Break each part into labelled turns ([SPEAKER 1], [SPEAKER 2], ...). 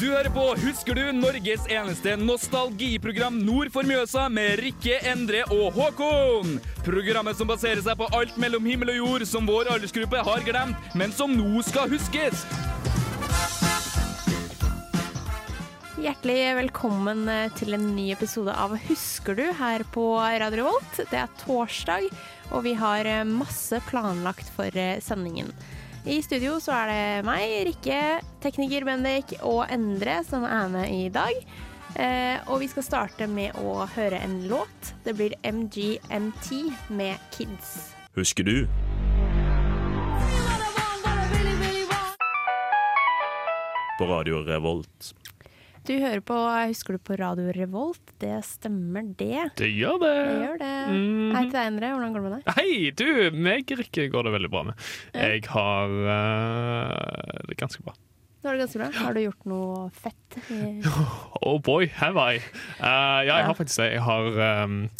[SPEAKER 1] Du hører på Husker du? Norges eneste nostalgiprogram nord for Mjøsa med Rikke, Endre og Håkon. Programmet som baserer seg på alt mellom himmel og jord som vår aldersgruppe har glemt, men som nå skal huskes.
[SPEAKER 2] Hjertelig velkommen eh, til en ny episode av Husker du? her på Radio Revolt. Det er torsdag, og vi har eh, masse planlagt for eh, sendingen. I studio så er det meg, Rikke, tekniker Bendik og Endre som er med i dag. Eh, og vi skal starte med å høre en låt. Det blir MGMT med Kids.
[SPEAKER 3] Husker du? På Radio Revolt.
[SPEAKER 2] Du hører på eh, Husker du på Radio Revolt? Det stemmer, det.
[SPEAKER 4] Det gjør det.
[SPEAKER 2] Det gjør det.
[SPEAKER 4] Mhm.
[SPEAKER 2] Hei til deg, Endre. Hvordan går det med deg?
[SPEAKER 4] Hei, du! Meg, Rikke, går det veldig bra med. Jeg har eh, det ganske bra.
[SPEAKER 2] Nå er det ganske bra. Har du gjort noe fett? i-
[SPEAKER 4] Oh boy, have I! Eh, ja, jeg
[SPEAKER 2] Ja.
[SPEAKER 4] har faktisk det. Jeg har ehm,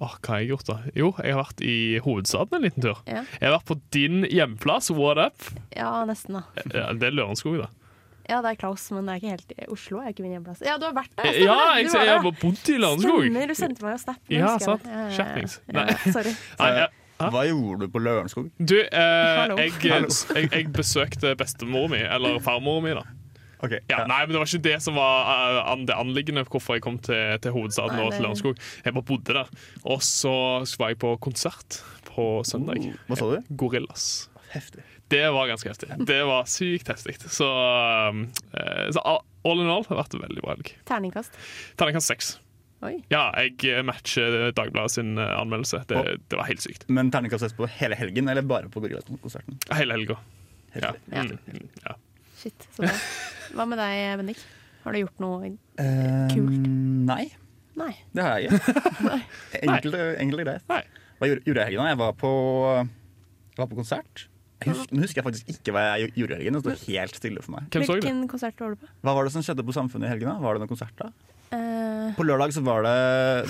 [SPEAKER 4] åh, Hva har jeg gjort, da? Jo, jeg har vært i hovedstaden en liten tur.
[SPEAKER 2] Ja,
[SPEAKER 4] Jeg har vært på din hjemplass, What Up.
[SPEAKER 2] ja nesten, da.
[SPEAKER 4] Eh, Det er Lørenskog, da.
[SPEAKER 2] Ja, det er Klaus, men det er ikke helt i Oslo. er ikke min hjemplass. Ja, du har vært der!
[SPEAKER 4] Eh,
[SPEAKER 2] stemmer
[SPEAKER 4] Ja,
[SPEAKER 2] det.
[SPEAKER 4] jeg,
[SPEAKER 2] Du var
[SPEAKER 4] jeg
[SPEAKER 2] der.
[SPEAKER 4] har bodd i Lørenskog.
[SPEAKER 2] Stemmer, du sendte meg jo snap. nå
[SPEAKER 4] Ja,
[SPEAKER 2] husker jeg
[SPEAKER 4] sant.
[SPEAKER 2] det. Ja, ja, ja.
[SPEAKER 4] Skjerpings.
[SPEAKER 2] Ja,
[SPEAKER 4] Nei.
[SPEAKER 2] sorry.
[SPEAKER 4] Nei, jeg, Hæ?
[SPEAKER 5] Eh, Hva gjorde du på Lørenskog?
[SPEAKER 4] du, eh,
[SPEAKER 2] Hallo.
[SPEAKER 4] jeg,
[SPEAKER 5] Hallo.
[SPEAKER 4] jeg, jeg besøkte bestemor mi, eller farmor mi, da.
[SPEAKER 5] Ok,
[SPEAKER 4] Ja, nei, men Det var ikke det som var eh, an, det anliggende hvorfor jeg kom til, til hovedstaden
[SPEAKER 2] Nei,
[SPEAKER 4] og til
[SPEAKER 2] det-
[SPEAKER 4] Lørenskog. Jeg bare bodde der. Og så var jeg på konsert på søndag.
[SPEAKER 5] Oh,
[SPEAKER 4] Eh,
[SPEAKER 5] Hva sa du?
[SPEAKER 4] Gorillas.
[SPEAKER 5] Heftig.
[SPEAKER 4] Det var ganske heftig. Det var sykt heftig. Så, um, eh, så all all in all har det vært en veldig bra helg.
[SPEAKER 2] Terningkast.
[SPEAKER 4] Terningkast seks.
[SPEAKER 2] Oi.
[SPEAKER 4] Ja, jeg eh, matcher Dagbladet sin eh, anmeldelse. Det, det var helt sykt.
[SPEAKER 5] Men terningkast seks på hele helgen, eller bare på Gorillakonserten?
[SPEAKER 4] Hele helga. Ja.
[SPEAKER 5] Heftig.
[SPEAKER 2] Ja.
[SPEAKER 4] Mm, mm, ja.
[SPEAKER 2] Shit, så bra. Hva med deg, Bendik? Har du gjort noe i-
[SPEAKER 5] Eh,
[SPEAKER 2] Kult.
[SPEAKER 5] Nei,
[SPEAKER 2] Nei.
[SPEAKER 5] det har jeg ikke.
[SPEAKER 2] Nei.
[SPEAKER 5] Enkelt enkelt og greit.
[SPEAKER 4] Nei.
[SPEAKER 5] Hva gjorde gjorde jeg i helgen? da? Jeg var på, jeg var på konsert. Jeg husker, nå husker jeg faktisk ikke hva jeg gjorde i helgen. Det står helt stille for meg.
[SPEAKER 4] Hvem så jeg det?
[SPEAKER 2] Hvilken konsert var du på?
[SPEAKER 5] Hva var det som skjedde på Samfunnet i helgen? da? Var det noen konsert da?
[SPEAKER 2] Eh,
[SPEAKER 5] På lørdag så var det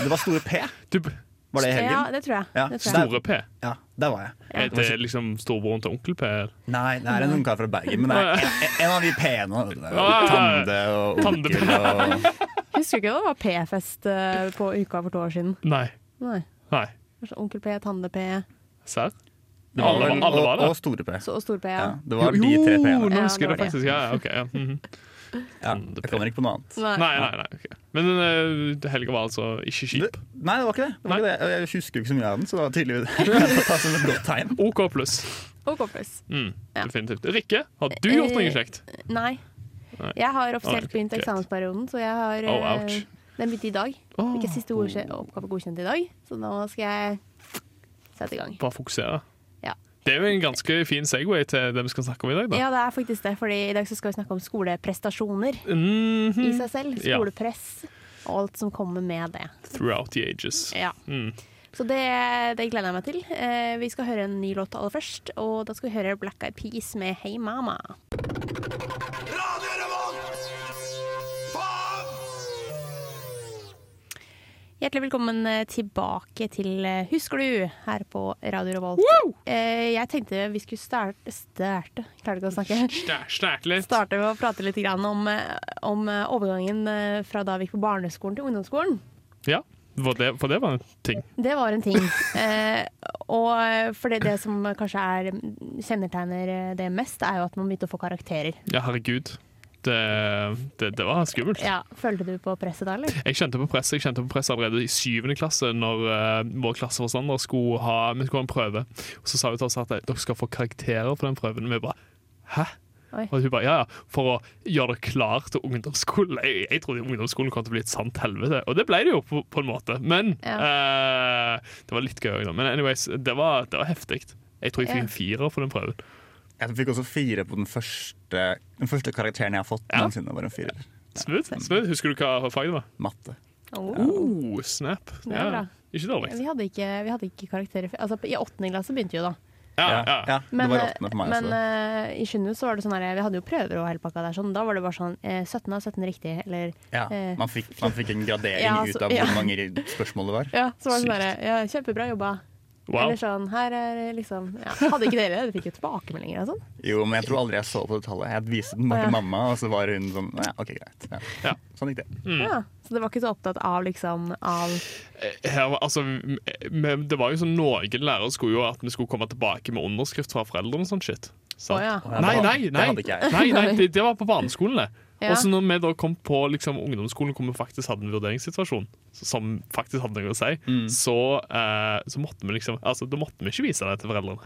[SPEAKER 5] Det var Store P.
[SPEAKER 4] Du, b-
[SPEAKER 5] Var det i helgen?
[SPEAKER 2] Ja, det tror jeg.
[SPEAKER 5] Ja.
[SPEAKER 2] Det tror jeg.
[SPEAKER 4] Store P.
[SPEAKER 5] Ja, der var jeg.
[SPEAKER 2] Ja.
[SPEAKER 4] Er det liksom storebroren til onkel P?
[SPEAKER 5] Nei, det er en ungkar fra Bergen, men det er en, en av de pene. vet du. Tande og
[SPEAKER 4] Tande.
[SPEAKER 5] onkel og
[SPEAKER 2] Husker du ikke det var P-fest eh, på uka for to år siden?
[SPEAKER 4] Nei.
[SPEAKER 2] Nei.
[SPEAKER 4] Nei.
[SPEAKER 2] Altså Onkel P, Tande P
[SPEAKER 4] Serr?
[SPEAKER 5] Det var
[SPEAKER 4] Alle-
[SPEAKER 5] vel-
[SPEAKER 4] alle var
[SPEAKER 5] og,
[SPEAKER 4] der.
[SPEAKER 5] og Store P.
[SPEAKER 2] så- og Stor P.
[SPEAKER 5] Ja,
[SPEAKER 2] Ja.
[SPEAKER 5] det var de tre
[SPEAKER 4] Jo,
[SPEAKER 5] P-ene.
[SPEAKER 4] nå
[SPEAKER 2] Ja, det
[SPEAKER 4] husker jeg
[SPEAKER 2] var
[SPEAKER 4] det faktisk. Ja, ja, ok. Ja. mhm.
[SPEAKER 5] Ja,
[SPEAKER 4] Tande
[SPEAKER 5] jeg
[SPEAKER 4] P.
[SPEAKER 5] kommer ikke på noe annet.
[SPEAKER 2] Nei.
[SPEAKER 4] Nei, nei, nei. ok. Men eh, helga var altså ikke
[SPEAKER 5] Det,
[SPEAKER 4] kjip.
[SPEAKER 5] nei, det var ikke det. det, var ikke det. Jeg husker jo ikke så mye av den, så det var tydelig det var som et godt tegn.
[SPEAKER 4] OK pluss.
[SPEAKER 2] OK pluss.
[SPEAKER 4] Mm,
[SPEAKER 2] Ja.
[SPEAKER 4] definitivt. Rikke, har du gjort noe
[SPEAKER 2] Eh,
[SPEAKER 4] kjekt?
[SPEAKER 2] Nei.
[SPEAKER 4] Nei.
[SPEAKER 2] Jeg har offisielt
[SPEAKER 4] Ah, ok,
[SPEAKER 2] begynt
[SPEAKER 4] greit.
[SPEAKER 2] eksamensperioden, så jeg har
[SPEAKER 4] Oh,
[SPEAKER 2] eh,
[SPEAKER 4] ouch.
[SPEAKER 2] Den begynte i dag.
[SPEAKER 4] Åh,
[SPEAKER 2] Fikk jeg siste ordkje- oppgave godkjent i dag, så nå skal jeg sette i gang.
[SPEAKER 4] bare fokusere.
[SPEAKER 2] Ja.
[SPEAKER 4] Det er jo en ganske fin Segway til det vi skal snakke om i dag. da.
[SPEAKER 2] Ja, det er faktisk det, fordi i dag så skal vi snakke om skoleprestasjoner i
[SPEAKER 4] Mhm.
[SPEAKER 2] seg selv.
[SPEAKER 4] Ja.
[SPEAKER 2] Skolepress og alt som kommer med det.
[SPEAKER 4] Throughout the ages.
[SPEAKER 2] Ja.
[SPEAKER 4] Mm.
[SPEAKER 2] Så det, det gleder jeg meg til. Eh, vi skal høre en ny låt aller først, og da skal vi høre Black Eyed Peas med Hey Mama. Hjertelig velkommen eh, tilbake til eh, Husker du? her på Radio Revolt. Eh, Jeg tenkte vi skulle starte Starte, klarer ikke å snakke.
[SPEAKER 4] Stæ- Stæk litt.
[SPEAKER 2] Starte med å prate litt grann om, eh, om eh, overgangen eh, fra da vi gikk på barneskolen til ungdomsskolen.
[SPEAKER 4] Ja, for det, for det var en ting.
[SPEAKER 2] Det var en ting. Eh, og for det, det som kanskje er kjennetegner eh, det mest, er jo at man begynte å få karakterer.
[SPEAKER 4] Ja, herregud. Det, det, det var skummelt.
[SPEAKER 2] Ja, Følte du på presset da, eller?
[SPEAKER 4] Jeg kjente på press Jeg kjente på press allerede i syvende klasse Når eh, vår klasseforstander skulle ha Vi skulle ha en prøve Og så sa hun til oss at eh, dere skal få karakterer på den prøven Og vi bare, hæ?
[SPEAKER 2] Oi.
[SPEAKER 4] Og hun bare, ja ja, for å gjøre dere klar til ungdomsskolen Jeg, jeg trodde ungdomsskolen kom til å bli et sant helvete Og det ble det jo på, på en måte Men eh, det var litt gøy også da. Men anyways, det var, det var heftigt Jeg tror jeg
[SPEAKER 2] Ja.
[SPEAKER 4] fikk en firer på den prøven
[SPEAKER 5] Jeg fikk også fire på den første, den første karakteren jeg har fått
[SPEAKER 4] Ja.
[SPEAKER 5] noensinne. var en firer.
[SPEAKER 4] Smooth, smooth Husker du hva faget det var?
[SPEAKER 5] Matte.
[SPEAKER 2] Oh.
[SPEAKER 4] Oh, snap
[SPEAKER 2] er
[SPEAKER 4] ja.
[SPEAKER 2] bra.
[SPEAKER 4] Ikke dårlig
[SPEAKER 2] Vi, hadde ikke, vi hadde ikke karakterer før. Altså, I åttende klasse begynte vi jo, da.
[SPEAKER 4] ja, ja.
[SPEAKER 5] Ja, det
[SPEAKER 2] Men,
[SPEAKER 5] var åttende for meg. altså.
[SPEAKER 2] men
[SPEAKER 5] også.
[SPEAKER 2] eh, i Sjunnhus så var det sånn her, vi hadde jo prøver og hele pakka der, sånn, da var det bare sånn eh, 17 av 17 riktig, eller
[SPEAKER 5] ja.
[SPEAKER 2] eh,
[SPEAKER 5] man, fikk, man fikk en gradering
[SPEAKER 2] Ja, så-
[SPEAKER 5] ut av
[SPEAKER 2] ja.
[SPEAKER 5] hvor mange spørsmål det var.
[SPEAKER 2] Ja, så var det sånn
[SPEAKER 4] Sykt.
[SPEAKER 2] der, ja, kjempebra jobba.
[SPEAKER 4] Wow.
[SPEAKER 2] Eller sånn, her er liksom ja. Hadde ikke dere det? Dere fikk jo tilbakemeldinger og sånn.
[SPEAKER 5] Jo, men jeg tror aldri jeg så på det tallet. Jeg viste den
[SPEAKER 2] Å,
[SPEAKER 5] bare
[SPEAKER 2] ja.
[SPEAKER 5] til mamma, og så var hun sånn Ja, OK, greit. Ja.
[SPEAKER 4] Ja. Mm.
[SPEAKER 5] Sånn gikk det.
[SPEAKER 2] Ja. Så dere var ikke så opptatt av liksom av
[SPEAKER 4] Her, var- altså, m- m- det var jo sånn Noen lærere skulle jo at vi skulle komme tilbake med underskrift fra foreldrene og sånn shit.
[SPEAKER 2] Å
[SPEAKER 4] Sant?
[SPEAKER 2] ja.
[SPEAKER 4] Nei,
[SPEAKER 5] Det var-
[SPEAKER 4] nei, nei.
[SPEAKER 5] det hadde ikke jeg.
[SPEAKER 4] nei, nei det, det var på barneskolen, det.
[SPEAKER 2] Ja.
[SPEAKER 4] Og så når vi da kom på liksom, ungdomsskolen hvor vi faktisk hadde en vurderingssituasjon som faktisk hadde noe å si,
[SPEAKER 5] Mm.
[SPEAKER 4] så, eh, så måtte vi liksom Altså, da måtte vi ikke vise det til foreldrene.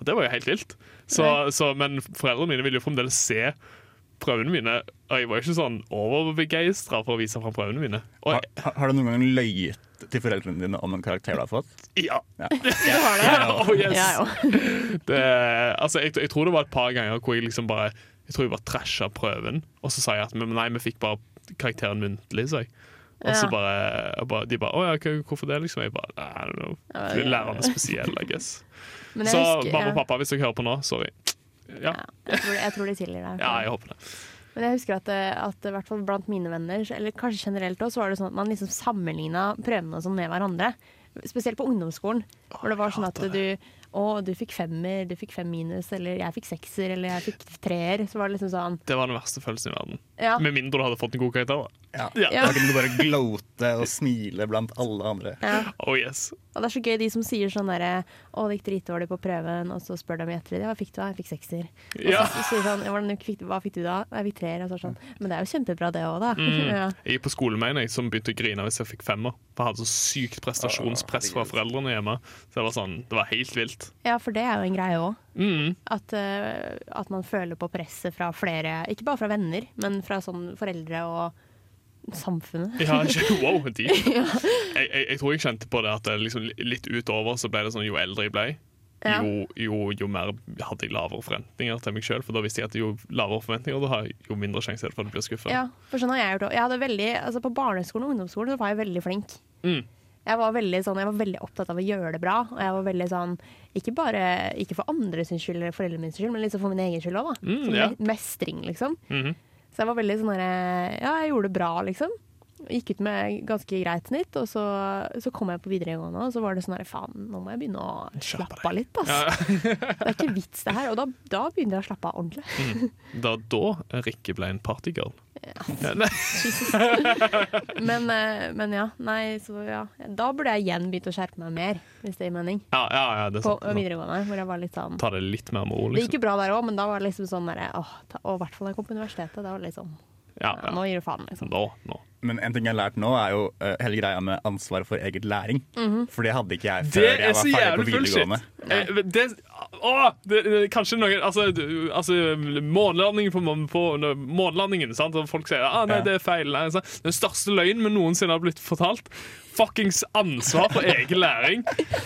[SPEAKER 4] Og det var jo helt vilt. Så, så, men foreldrene mine ville jo fremdeles se prøvene mine. Og jeg var jo ikke sånn overbegeistra for å vise fram prøvene mine. Og
[SPEAKER 5] Har, har- har du noen gang løyet til foreldrene dine om en karakter du har fått?
[SPEAKER 4] ja,
[SPEAKER 5] Ja.
[SPEAKER 4] oh, yes.
[SPEAKER 2] Ja, jo.
[SPEAKER 4] det, altså, jeg, jeg tror det var et par ganger hvor jeg liksom bare Jeg tror jeg bare trasha prøven, og så sa jeg at men nei, vi fikk bare karakteren muntlig. sa jeg. Og
[SPEAKER 2] Ja.
[SPEAKER 4] så bare, jeg bare De bare Å ja, hva- hvorfor det, liksom? Jeg bare I don't know.
[SPEAKER 2] Ja,
[SPEAKER 4] Fordi
[SPEAKER 2] ja.
[SPEAKER 4] Læreren er spesiell, I guess.
[SPEAKER 2] Men jeg
[SPEAKER 4] Så
[SPEAKER 2] husker-
[SPEAKER 4] mamma og
[SPEAKER 2] ja.
[SPEAKER 4] pappa, hvis dere hører på nå, sorry. Ja,
[SPEAKER 2] Ja, jeg, tror, jeg tror de tilgir deg.
[SPEAKER 4] ja jeg håper det.
[SPEAKER 2] Men jeg husker at, eh, at i hvert fall blant mine venner, eller kanskje generelt også, så var det sånn at man liksom sammenligna prøvene og sånn med hverandre. Spesielt på ungdomsskolen, hvor det var sånn at du Å, du fikk femmer, du fikk fem minus, eller jeg fikk sekser, eller jeg fikk treer. Så var det liksom sånn
[SPEAKER 4] Det var den verste følelsen i verden.
[SPEAKER 2] Ja.
[SPEAKER 4] Med mindre du hadde fått en god karakter. da.
[SPEAKER 5] Ja.
[SPEAKER 2] Ja.
[SPEAKER 5] Da kunne du bare gloate og smile blant alle andre.
[SPEAKER 2] ja.
[SPEAKER 4] Oh yes.
[SPEAKER 2] Og det er så gøy de som sier sånn derre Å, det gikk dritdårlig på prøven, og så spør de etter det. Hva fikk du da? Jeg fikk sekser. Og
[SPEAKER 4] Ja.
[SPEAKER 2] så sier de sånn «Ja, Hvordan fikk du, Hva fikk du da? Jeg fikk treer. Og så er det sånn Men det er jo kjempebra, det òg, da.
[SPEAKER 4] Mm.
[SPEAKER 2] ja.
[SPEAKER 4] Jeg gikk på skolen med en jeg som begynte å grine hvis jeg fikk femmer. For jeg hadde så sykt prestasjonspress fra foreldrene hjemme. Så det var sånn, det var helt vilt.
[SPEAKER 2] ja, for det er jo en greie òg.
[SPEAKER 4] Mm.
[SPEAKER 2] At, eh, at man føler på presset fra flere, ikke bare fra venner, men fra sånn foreldre og samfunnet.
[SPEAKER 4] Ja, ikke, wow, de. jeg, jeg, jeg tror jeg kjente på det at det liksom li- litt utover så ble det sånn jo eldre jeg ble,
[SPEAKER 2] Ja.
[SPEAKER 4] jo, jo, jo mer hadde jeg lavere forventninger til meg sjøl. For da visste jeg at jo lavere forventninger, da har jeg jo mindre sjanse for at jeg blir skuffa.
[SPEAKER 2] Ja, for sånn har jeg gjort det. Jeg hadde veldig, altså på barneskolen og ungdomsskolen så var jeg veldig flink.
[SPEAKER 4] Mm.
[SPEAKER 2] Jeg var, veldig sånn, jeg var veldig opptatt av å gjøre det bra. Og jeg var veldig sånn, Ikke bare ikke for andres sin skyld eller foreldrene mine sin skyld, men liksom for min egen skyld òg.
[SPEAKER 4] Mm,
[SPEAKER 2] Som
[SPEAKER 4] ja.
[SPEAKER 2] me- mestring, liksom.
[SPEAKER 4] Mhm.
[SPEAKER 2] Så jeg var veldig sånn derre Ja, jeg gjorde det bra, liksom. Gikk ut med ganske greit nytt, og så, så kom jeg på videregående, og så var det sånn herre faen, nå må jeg begynne å
[SPEAKER 4] Slappe
[SPEAKER 2] slappe av litt, ass. det er ikke vits, det her. Og da, da begynner jeg å slappe av ordentlig.
[SPEAKER 4] Da da Rikke ble en partygirl.
[SPEAKER 2] Men, eh, men ja, nei, så ja. Da burde jeg igjen begynt å skjerpe meg mer, hvis det gir mening.
[SPEAKER 4] Ja, ja, Sånn, ja, det er
[SPEAKER 2] På
[SPEAKER 4] sant.
[SPEAKER 2] videregående, hvor jeg var litt sånn
[SPEAKER 4] Ta det litt mer med ro,
[SPEAKER 2] Det gikk
[SPEAKER 4] liksom.
[SPEAKER 2] jo bra der òg, men da var det liksom sånn derre åh, ta- Og i hvert fall da jeg kom på universitetet. Da var det litt sånn ja,
[SPEAKER 4] Ja, ja.
[SPEAKER 2] Nå gir du faen, liksom.
[SPEAKER 4] Nå, nå.
[SPEAKER 5] Men en ting jeg har lært nå, er jo eh, hele greia med ansvar for eget læring.
[SPEAKER 2] Mhm.
[SPEAKER 5] For det hadde ikke jeg før
[SPEAKER 4] Det er
[SPEAKER 5] jeg var
[SPEAKER 4] så
[SPEAKER 5] ferdig på
[SPEAKER 4] jævlig bullshit.
[SPEAKER 5] videregående.
[SPEAKER 4] Eh, det, å, det, det, kanskje noen Altså, du- altså månelandingen på, på månelandingen, sant? Og folk sier ah, nei,
[SPEAKER 5] Ja.
[SPEAKER 4] det er feil. Nei, sant? Den største løgnen vi noensinne har blitt fortalt. Fuckings ansvar for egen læring.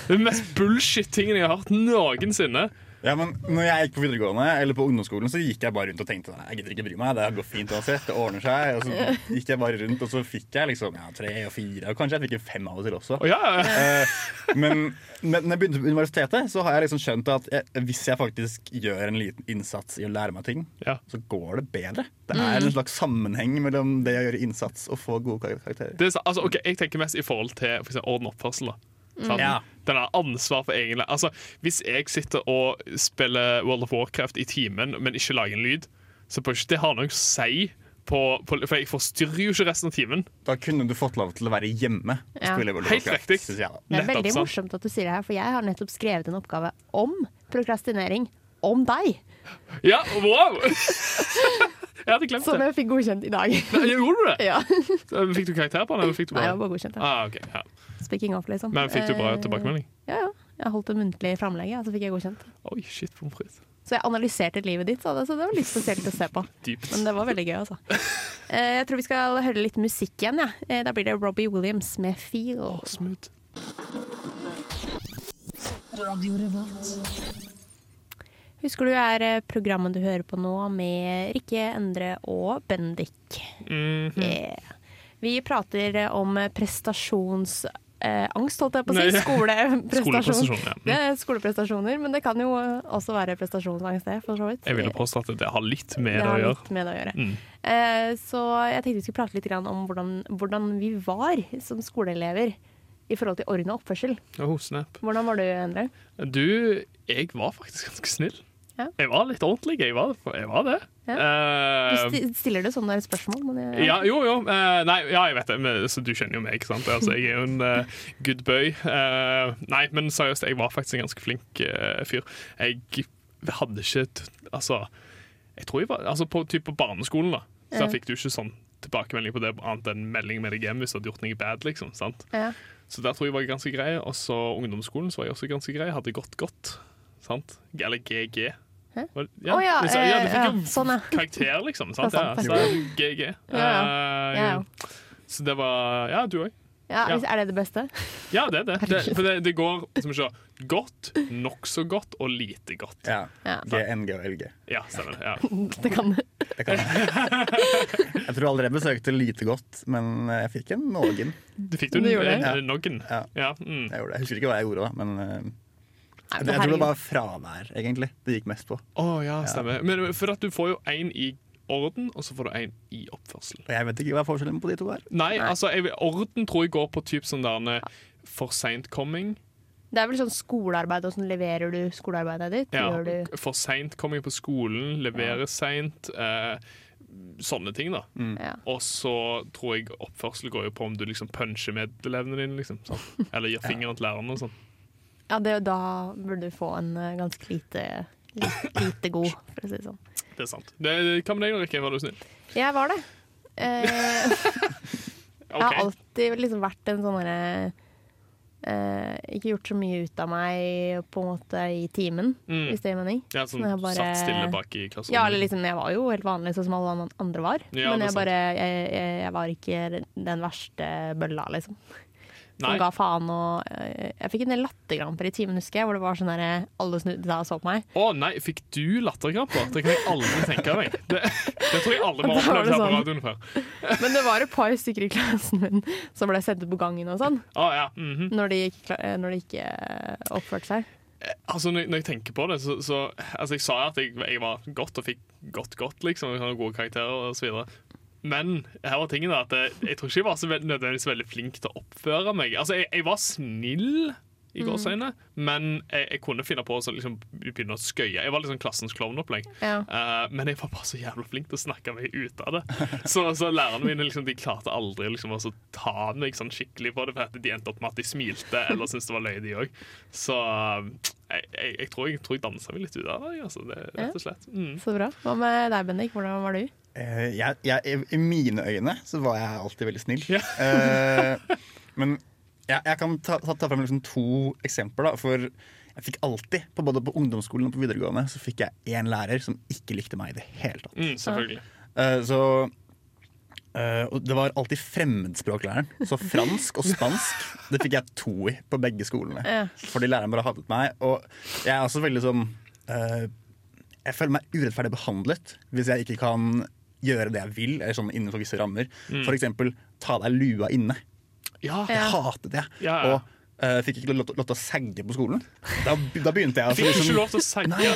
[SPEAKER 4] Den mest bullshit-tingen jeg har hørt noensinne.
[SPEAKER 5] Ja, men når jeg gikk på videregående eller på ungdomsskolen, så gikk jeg bare rundt og tenkte Nei, jeg gidder ikke bry meg, det her går fint uansett, det ordner seg. Og så gikk jeg bare rundt, og så fikk jeg liksom ja, tre og fire, og kanskje jeg fikk en fem av og til også.
[SPEAKER 4] Og ja, ja,
[SPEAKER 5] Eh, men, men når jeg begynte på universitetet, så har jeg liksom skjønt at jeg, hvis jeg faktisk gjør en liten innsats i å lære meg ting,
[SPEAKER 4] ja.
[SPEAKER 5] så går det bedre. Det er
[SPEAKER 2] Mm.
[SPEAKER 5] en slags sammenheng mellom det å gjøre innsats og få gode kar- karakterer.
[SPEAKER 4] Det er, så- altså, ok, jeg tenker mest i forhold til for eksempel, orden og oppførsel. da.
[SPEAKER 2] Mm.
[SPEAKER 4] Sant?
[SPEAKER 5] Ja.
[SPEAKER 4] Den har ansvar for egen læ- altså, Hvis jeg sitter og spiller World of Warcraft i timen, men ikke lager en lyd, så bør ikke det ha noe å si. På, på, for jeg forstyrrer jo ikke resten av timen.
[SPEAKER 5] Da kunne du fått lov til å være hjemme. og
[SPEAKER 2] Ja.
[SPEAKER 5] spille World of
[SPEAKER 4] Helt
[SPEAKER 5] Warcraft,
[SPEAKER 4] riktig.
[SPEAKER 5] synes jeg da.
[SPEAKER 2] Det er
[SPEAKER 4] Nettopp, sånn.
[SPEAKER 2] veldig
[SPEAKER 4] sant?
[SPEAKER 2] morsomt at du sier det her, for jeg har nettopp skrevet en oppgave om prokrastinering. Om deg!
[SPEAKER 4] Ja, wow! jeg hadde glemt
[SPEAKER 2] Som
[SPEAKER 4] det.
[SPEAKER 2] jeg fikk godkjent i dag.
[SPEAKER 4] Nei, Gjorde du det?
[SPEAKER 2] Sånn ja.
[SPEAKER 4] Fikk du karakter på den? Eller fikk du
[SPEAKER 2] Nei, jeg var
[SPEAKER 4] bare...
[SPEAKER 2] bare godkjent. Ja.
[SPEAKER 4] Ah, ok, ja.
[SPEAKER 2] Speaking of, liksom.
[SPEAKER 4] Men fikk du bra
[SPEAKER 2] Eh,
[SPEAKER 4] tilbakemelding?
[SPEAKER 2] Ja, ja. Jeg holdt det muntlig framlegget, og så fikk jeg godkjent.
[SPEAKER 4] Oi, shit, pommes frites.
[SPEAKER 2] Så jeg analyserte livet ditt, sa det, så det var litt spesielt å se på.
[SPEAKER 4] Dypt.
[SPEAKER 2] Men det var veldig gøy, altså. Eh, Jeg tror vi skal høre litt musikk igjen, ja. Eh, Da blir det Robbie Williams med 'Feel'.
[SPEAKER 4] Å, smooth.
[SPEAKER 2] Husker du er eh, programmet du hører på nå med Rikke, Endre og Bendik.
[SPEAKER 4] Mm. Mhm.
[SPEAKER 2] Yeah. Vi prater eh, om prestasjonsangst, holdt jeg på å si.
[SPEAKER 4] Nei.
[SPEAKER 2] Skoleprestasjon.
[SPEAKER 4] Skoleprestasjon, ja. Mm.
[SPEAKER 2] Det er skoleprestasjoner, men det kan jo eh, også være prestasjonsangst, det, for så vidt.
[SPEAKER 4] Jeg ville påstå at det har litt med
[SPEAKER 2] Det
[SPEAKER 4] det å
[SPEAKER 2] har
[SPEAKER 4] gjøre.
[SPEAKER 2] litt med det å gjøre.
[SPEAKER 4] Mm.
[SPEAKER 2] Eh, så jeg tenkte vi skulle prate litt grann om hvordan, hvordan vi var som skoleelever i forhold til orden og oppførsel.
[SPEAKER 4] Oh, snap.
[SPEAKER 2] Hvordan var du, Endre?
[SPEAKER 4] Du, jeg var faktisk ganske snill.
[SPEAKER 2] Ja.
[SPEAKER 4] Jeg var litt ordentlig. Jeg var, jeg var det.
[SPEAKER 2] Ja. Du
[SPEAKER 4] Eh,
[SPEAKER 2] sti- stiller det sånn der spørsmål, men jeg,
[SPEAKER 4] ja, jo, jo. eh, nei, ja, jeg vet det. Men, så du kjenner jo meg, ikke sant? Altså, jeg er jo en eh, good boy. Eh, nei, men seriøst, jeg var faktisk en ganske flink eh, fyr. Jeg hadde ikke t Altså, jeg tror jeg var Altså, på, typ på barneskolen, da, så
[SPEAKER 2] Ja.
[SPEAKER 4] fikk du ikke sånn tilbakemelding på det, annet enn melding med deg hjem hvis du hadde gjort noe bad, liksom. sant?
[SPEAKER 2] ja.
[SPEAKER 4] Så der tror jeg var ganske grei. Og så ungdomsskolen så var jeg også ganske grei. Hadde gått godt. Sant? Eller GG.
[SPEAKER 2] Hæ?
[SPEAKER 4] Var-
[SPEAKER 2] Å ja,
[SPEAKER 4] liksom, ja, du
[SPEAKER 2] eh,
[SPEAKER 4] fikk
[SPEAKER 2] ja,
[SPEAKER 4] jo
[SPEAKER 2] sånn, ja.
[SPEAKER 4] karakter, liksom. Sant?
[SPEAKER 2] Det er
[SPEAKER 4] Ja,
[SPEAKER 2] sant,
[SPEAKER 4] så
[SPEAKER 2] det.
[SPEAKER 4] det er GG.
[SPEAKER 2] Ja,
[SPEAKER 4] Eh,
[SPEAKER 2] ja.
[SPEAKER 4] Så det var Ja, du òg.
[SPEAKER 2] Ja,
[SPEAKER 4] Ja.
[SPEAKER 2] Er det det beste?
[SPEAKER 4] Ja, det er det. det for det, det går som vi ser, godt, nokså godt og lite godt.
[SPEAKER 5] Ja.
[SPEAKER 2] Ja.
[SPEAKER 5] GNG og LG.
[SPEAKER 4] Ja, stemmer det. Ja.
[SPEAKER 2] Det kan det.
[SPEAKER 5] Det kan jeg. jeg tror aldri jeg besøkte lite godt, men eh, jeg fikk en noen.
[SPEAKER 4] Du fikk du
[SPEAKER 2] Du
[SPEAKER 4] en,
[SPEAKER 2] gjorde det.
[SPEAKER 4] en, en noggen.
[SPEAKER 5] Ja.
[SPEAKER 4] Ja,
[SPEAKER 5] Jeg,
[SPEAKER 4] mm.
[SPEAKER 5] gjorde det. jeg husker ikke hva jeg gjorde da, men eh,
[SPEAKER 2] Nei, men
[SPEAKER 5] jeg, tror det
[SPEAKER 2] herregud.
[SPEAKER 5] var fravær, egentlig. Det gikk mest på.
[SPEAKER 4] Å ja, stemmer. Men for at du får jo én i orden, og så får du én i oppførsel.
[SPEAKER 5] Og jeg vet ikke hva forskjellen på de to er.
[SPEAKER 4] Nei, altså, jeg, orden tror jeg går på typ sånn der eh, for seint komming.
[SPEAKER 2] Det er vel sånn skolearbeid, og sånn leverer du skolearbeidet ditt?
[SPEAKER 4] Ja,
[SPEAKER 2] Gjør du
[SPEAKER 4] for seint komming på skolen, levere seint. Eh, sånne ting, da.
[SPEAKER 5] Mm.
[SPEAKER 2] ja.
[SPEAKER 4] Og så tror jeg oppførsel går jo på om du liksom puncher medelevene dine. liksom sånn. Eller gir fingeren til læreren og sånn.
[SPEAKER 2] ja, det, da burde du få en eh, ganske lite, li- lite god, for å si det sånn.
[SPEAKER 4] Det er sant. Det, hva med deg, Rikke? Var du snill?
[SPEAKER 2] Jeg var det. Eh, Jeg har
[SPEAKER 4] Ok.
[SPEAKER 2] alltid liksom vært en sånn derre eh, Ikke gjort så mye ut av meg på en måte i timen,
[SPEAKER 4] Mm.
[SPEAKER 2] hvis det gir mening.
[SPEAKER 4] Ja, sånn
[SPEAKER 2] Når jeg bare-
[SPEAKER 4] satt stille bak i klasserommet.
[SPEAKER 2] Ja, eller liksom, jeg var jo helt vanlig, sånn som alle an- andre var.
[SPEAKER 4] Ja,
[SPEAKER 2] men
[SPEAKER 4] det er
[SPEAKER 2] jeg bare jeg, jeg, jeg var ikke den verste bølla, liksom. Som
[SPEAKER 4] Nei.
[SPEAKER 2] ga faen og eh, Jeg fikk en del latterkramper i timen, husker jeg, hvor det var sånn derre Alle snudde seg og så på meg.
[SPEAKER 4] Å nei, fikk du latterkramper? Det kan jeg aldri tenke meg. Det, det tror jeg alle
[SPEAKER 2] Da
[SPEAKER 4] har
[SPEAKER 2] var det
[SPEAKER 4] opplevd her på
[SPEAKER 2] sånn.
[SPEAKER 4] radioen før.
[SPEAKER 2] Men det var et par stykker i klassen min som ble sendt ut på gangen og sånn,
[SPEAKER 4] Å, ja. mhm.
[SPEAKER 2] når de ikke, kla- eh, når de ikke eh, oppførte seg.
[SPEAKER 4] Altså, når, når jeg tenker på det, så, så altså, Jeg sa at jeg, jeg var godt og fikk godt, godt, liksom. Jeg hadde gode karakterer og så videre. Men her var tingen da, at jeg, jeg tror ikke jeg var så veld, nødvendigvis veldig flink til å oppføre meg. Altså, Jeg, jeg var snill i gårsøgne, men jeg, jeg kunne finne på å så liksom, begynne å skøye. Jeg var liksom klassens klovnopplegg.
[SPEAKER 2] Ja.
[SPEAKER 4] Eh, men jeg var bare så jævla flink til å snakke meg ut av det. Så, så lærerne mine liksom, de klarte aldri liksom, å så ta meg sånn skikkelig på det, for at de endte opp med at de smilte eller syntes det var løye, de òg. Så um, jeg, jeg, jeg, tror, jeg tror jeg dansa meg litt ut av det, altså, det rett og slett. Mm.
[SPEAKER 2] Så bra. Hva med deg, Bendik? Hvordan var du?
[SPEAKER 5] Eh, jeg, jeg, I mine øyne så var jeg alltid veldig snill.
[SPEAKER 4] Ja.
[SPEAKER 5] Eh, men jeg, jeg kan ta, ta, ta frem liksom to eksempler. Da, for jeg fikk alltid, på både på ungdomsskolen og på videregående, så fikk jeg én lærer som ikke likte meg i det hele tatt.
[SPEAKER 4] Mm, selvfølgelig.
[SPEAKER 5] Eh, så eh, og Det var alltid fremmedspråklæreren. Så fransk og spansk Det fikk jeg to i på begge skolene.
[SPEAKER 2] Ja.
[SPEAKER 5] Fordi læreren bare hatet meg. Og jeg er også veldig sånn eh, Jeg føler meg urettferdig behandlet hvis jeg ikke kan gjøre det jeg vil, eller sånn innenfor visse rammer.
[SPEAKER 4] Mm.
[SPEAKER 5] For eksempel ta deg lua inne.
[SPEAKER 4] Ja,
[SPEAKER 5] Jeg
[SPEAKER 2] Ja.
[SPEAKER 5] hatet det.
[SPEAKER 4] Ja, ja.
[SPEAKER 5] Og eh, fikk ikke lov til lov til å sagge på skolen. Da, da begynte jeg altså liksom- å
[SPEAKER 4] Fikk du ikke lov til å sagge?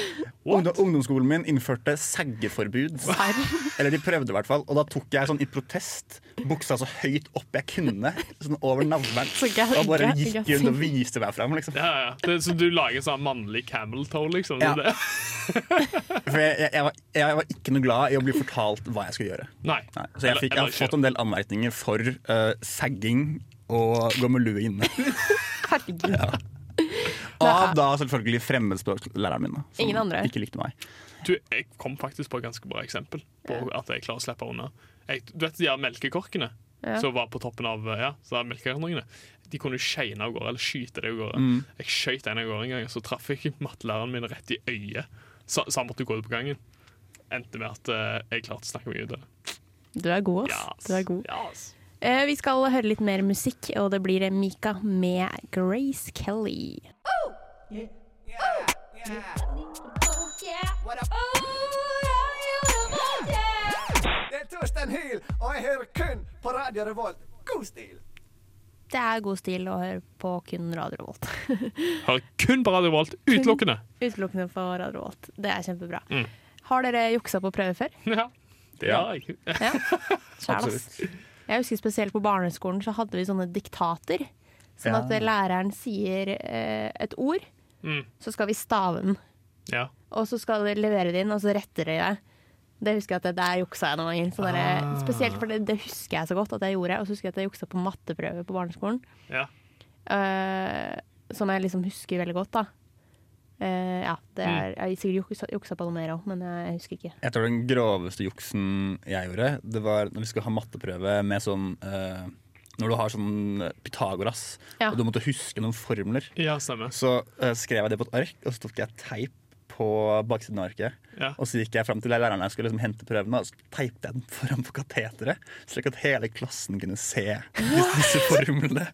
[SPEAKER 4] What?
[SPEAKER 5] Ungdom, ungdomsskolen min innførte seggeforbud. Eller de prøvde i hvert fall. Og da tok jeg sånn i protest buksa så høyt opp jeg kunne, sånn over navlen.
[SPEAKER 2] Så gøy,
[SPEAKER 5] Og bare
[SPEAKER 2] gøy,
[SPEAKER 5] gikk
[SPEAKER 2] gøy.
[SPEAKER 5] rundt og viste meg fram. Liksom.
[SPEAKER 4] Ja, ja, ja. Det, så du lager sånn mannlig camel toe, liksom?
[SPEAKER 5] Ja.
[SPEAKER 4] Det,
[SPEAKER 5] For jeg, jeg, jeg, var, jeg var ikke noe glad i å bli fortalt hva jeg skulle gjøre.
[SPEAKER 4] nei.
[SPEAKER 5] Nei, så jeg,
[SPEAKER 4] Eller-
[SPEAKER 5] fikk, jeg
[SPEAKER 4] eller
[SPEAKER 5] har fått en del anmerkninger for eh, sagging og gå med lue inne.
[SPEAKER 2] Herregud.
[SPEAKER 5] Av da selvfølgelig fremmedspråklæreren min, da, som
[SPEAKER 2] Ingen andre?
[SPEAKER 5] ikke likte meg.
[SPEAKER 4] Du, jeg kom faktisk på et ganske bra eksempel på at jeg klarer å slippe unna. Jeg, du vet de her melkekorkene som var på toppen av ja, så der melkekartongene? De kunne jo skeine av gårde, eller skyte det av gårde.
[SPEAKER 5] Mm.
[SPEAKER 4] Jeg skjøt en av gårde en gang, og så traff jeg mattelæreren min rett i øyet. Så, så han måtte gå ut på gangen. Endte med at eh, jeg klarte å snakke meg ut av det.
[SPEAKER 2] Du er god, ass.
[SPEAKER 4] Ja, ass.
[SPEAKER 2] Du er god.
[SPEAKER 4] Ja, ass.
[SPEAKER 2] Eh, vi skal høre litt mer musikk, og det blir Mika med Grace Kelly.
[SPEAKER 6] Det er Torstein Hyl, og jeg hører kun på Radio Revolt. God stil!
[SPEAKER 2] Det er god stil å høre på kun Radio Revolt.
[SPEAKER 4] Hører kun på Radio Volt, utelukkende!
[SPEAKER 2] Utelukkende på Radio Revolt. Det er kjempebra. Har dere juksa på prøve før?
[SPEAKER 4] Mm. Ja, det
[SPEAKER 5] Ja.
[SPEAKER 4] har jeg.
[SPEAKER 2] Ja. Sjæl, ass. Jeg husker spesielt på barneskolen så hadde vi sånne diktater. Sånn
[SPEAKER 5] Ja.
[SPEAKER 2] at læreren sier eh, et ord,
[SPEAKER 4] Mm.
[SPEAKER 2] så skal vi stave den.
[SPEAKER 4] Ja.
[SPEAKER 2] Og så skal de levere det inn, og så retter de det. Det husker jeg at det der juksa jeg noen ganger. Så der,
[SPEAKER 4] Ah.
[SPEAKER 2] Spesielt for det, det husker jeg så godt at jeg gjorde. Og så husker jeg at jeg juksa på matteprøve på barneskolen.
[SPEAKER 4] ja.
[SPEAKER 2] eh, som jeg liksom husker veldig godt, da. Eh, ja, det
[SPEAKER 5] Mm.
[SPEAKER 2] er, jeg har sikkert juksa, juksa på noe mer òg, men jeg husker ikke.
[SPEAKER 5] Jeg tror den groveste juksen jeg gjorde, det var når vi skulle ha matteprøve med sånn eh, Når du har sånn eh, Pythagoras,
[SPEAKER 2] Ja.
[SPEAKER 5] og du måtte huske noen formler,
[SPEAKER 4] ja stemmer.
[SPEAKER 5] så eh, skrev jeg det på et ark, og så tok jeg teip på baksiden av arket.
[SPEAKER 4] Ja.
[SPEAKER 5] Og så gikk jeg fram til læreren jeg skulle liksom hente prøven, og så teipte jeg den foran på kateteret, slik at hele klassen kunne se disse, disse formlene.